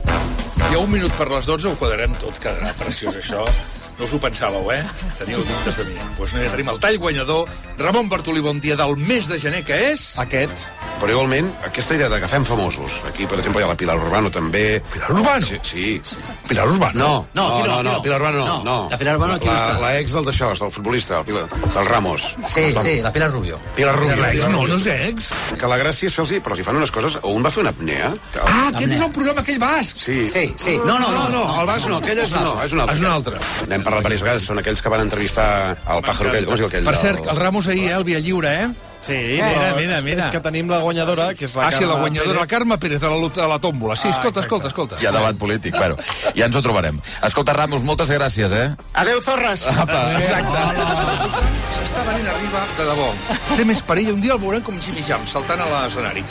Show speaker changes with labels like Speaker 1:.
Speaker 1: hi ha un minut per les 12, ho quadrarem tot, quedarà preciós això. No us ho pensàveu, eh? Teníeu dubtes de mi. Doncs pues no, ja tenim el tall guanyador, Ramon Bartolí, bon dia, del mes de gener, que és...
Speaker 2: Aquest.
Speaker 3: Però igualment, aquesta idea de que fem famosos, aquí, per exemple, hi ha la Pilar Urbano, també...
Speaker 1: Pilar Urbano?
Speaker 3: Sí, sí.
Speaker 1: Pilar Urbano.
Speaker 3: No,
Speaker 4: No,
Speaker 3: no,
Speaker 4: aquí no,
Speaker 3: no,
Speaker 4: aquí
Speaker 3: no,
Speaker 4: no.
Speaker 3: Pilar Urbano no.
Speaker 4: No, la Pilar Urbano aquí no
Speaker 3: la,
Speaker 4: està.
Speaker 3: La ex del d'això, del futbolista, el Pilar, del Ramos.
Speaker 4: Sí, sí, la Pilar Rubio.
Speaker 3: Pilar Rubio.
Speaker 1: Pilar
Speaker 3: Pilar
Speaker 1: Urbano.
Speaker 3: Rubio.
Speaker 1: No, no és ex.
Speaker 3: Que la gràcia és fer-los... Però si fan unes coses... O un va fer una apnea... Que...
Speaker 1: Ah, aquest és el programa aquell basc.
Speaker 3: Sí.
Speaker 4: Sí, sí. No, no, no.
Speaker 3: no, el Bas no, aquell és, no, és un altre.
Speaker 1: És un altre.
Speaker 3: N'hem parlat diverses vegades, són aquells que van entrevistar el pàjaro aquell, com es diu aquell?
Speaker 1: Per cert, el Ramos ahir, eh, el Via Lliure, eh?
Speaker 2: Sí,
Speaker 1: mira,
Speaker 2: però
Speaker 1: mira, mira.
Speaker 2: És que tenim la guanyadora, que és la
Speaker 1: Ah, sí, la
Speaker 2: Carme Ah,
Speaker 1: guanyadora, la Carme Pérez, de la, lot- de la tòmbola. Sí, escolta, escolta, escolta.
Speaker 5: Hi ha debat polític, bueno, ja ens ho trobarem. Escolta, Ramos, moltes gràcies, eh?
Speaker 3: Adéu, Zorres!
Speaker 5: Apa, exacte.
Speaker 1: S'està venint arriba, de debò. Té més perill. Un dia el veurem com Jimmy Jam, saltant a l'escenari.